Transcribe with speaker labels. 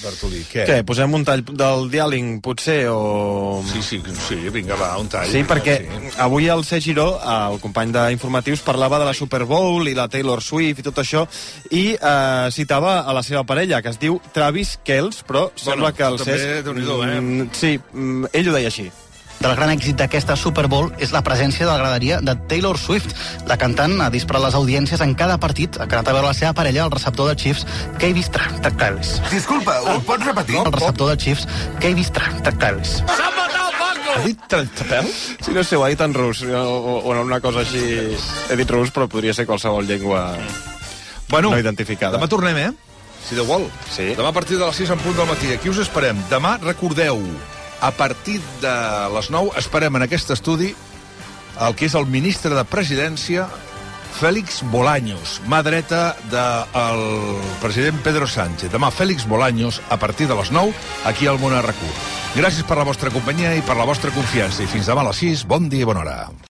Speaker 1: Bartolí, què?
Speaker 2: Què, posem un tall del diàling, potser, o...
Speaker 1: Sí, sí, sí, vinga, va, un tall.
Speaker 2: Sí, perquè
Speaker 1: Sí.
Speaker 2: avui el Sergi Giró, eh, el company d'Informatius, parlava de la Super Bowl i la Taylor Swift i tot això, i eh, citava a la seva parella, que es diu Travis Kells, però sembla que el
Speaker 1: també
Speaker 2: Cesc...
Speaker 1: déu-n'hi-do, eh?
Speaker 2: mm, Sí, mm, ell ho deia així.
Speaker 3: del gran èxit d'aquesta Super Bowl és la presència de la graderia de Taylor Swift. La cantant ha disparat les audiències en cada partit, ha quedat a veure la seva parella, el receptor de Chiefs, Kavis Travis.
Speaker 4: Disculpa, ho pots repetir?
Speaker 3: El receptor de Chiefs, Kavis Travis.
Speaker 2: Ha dit trentapèl? Sí, no sé, ho ha dit en rus, o, o, o una cosa així... He dit rus, però podria ser qualsevol llengua...
Speaker 1: Bueno,
Speaker 2: No identificada.
Speaker 1: demà tornem, eh? Si Déu vol.
Speaker 2: Sí.
Speaker 1: Demà a partir de les 6 en punt del matí. Aquí us esperem. Demà, recordeu, a partir de les 9 esperem en aquest estudi el que és el ministre de Presidència, Félix Bolaños, mà dreta del president Pedro Sánchez. Demà, Félix Bolaños, a partir de les 9, aquí al Món RQ. Gràcies per la vostra companyia i per la vostra confiança. I fins demà a les 6. Bon dia i bona hora.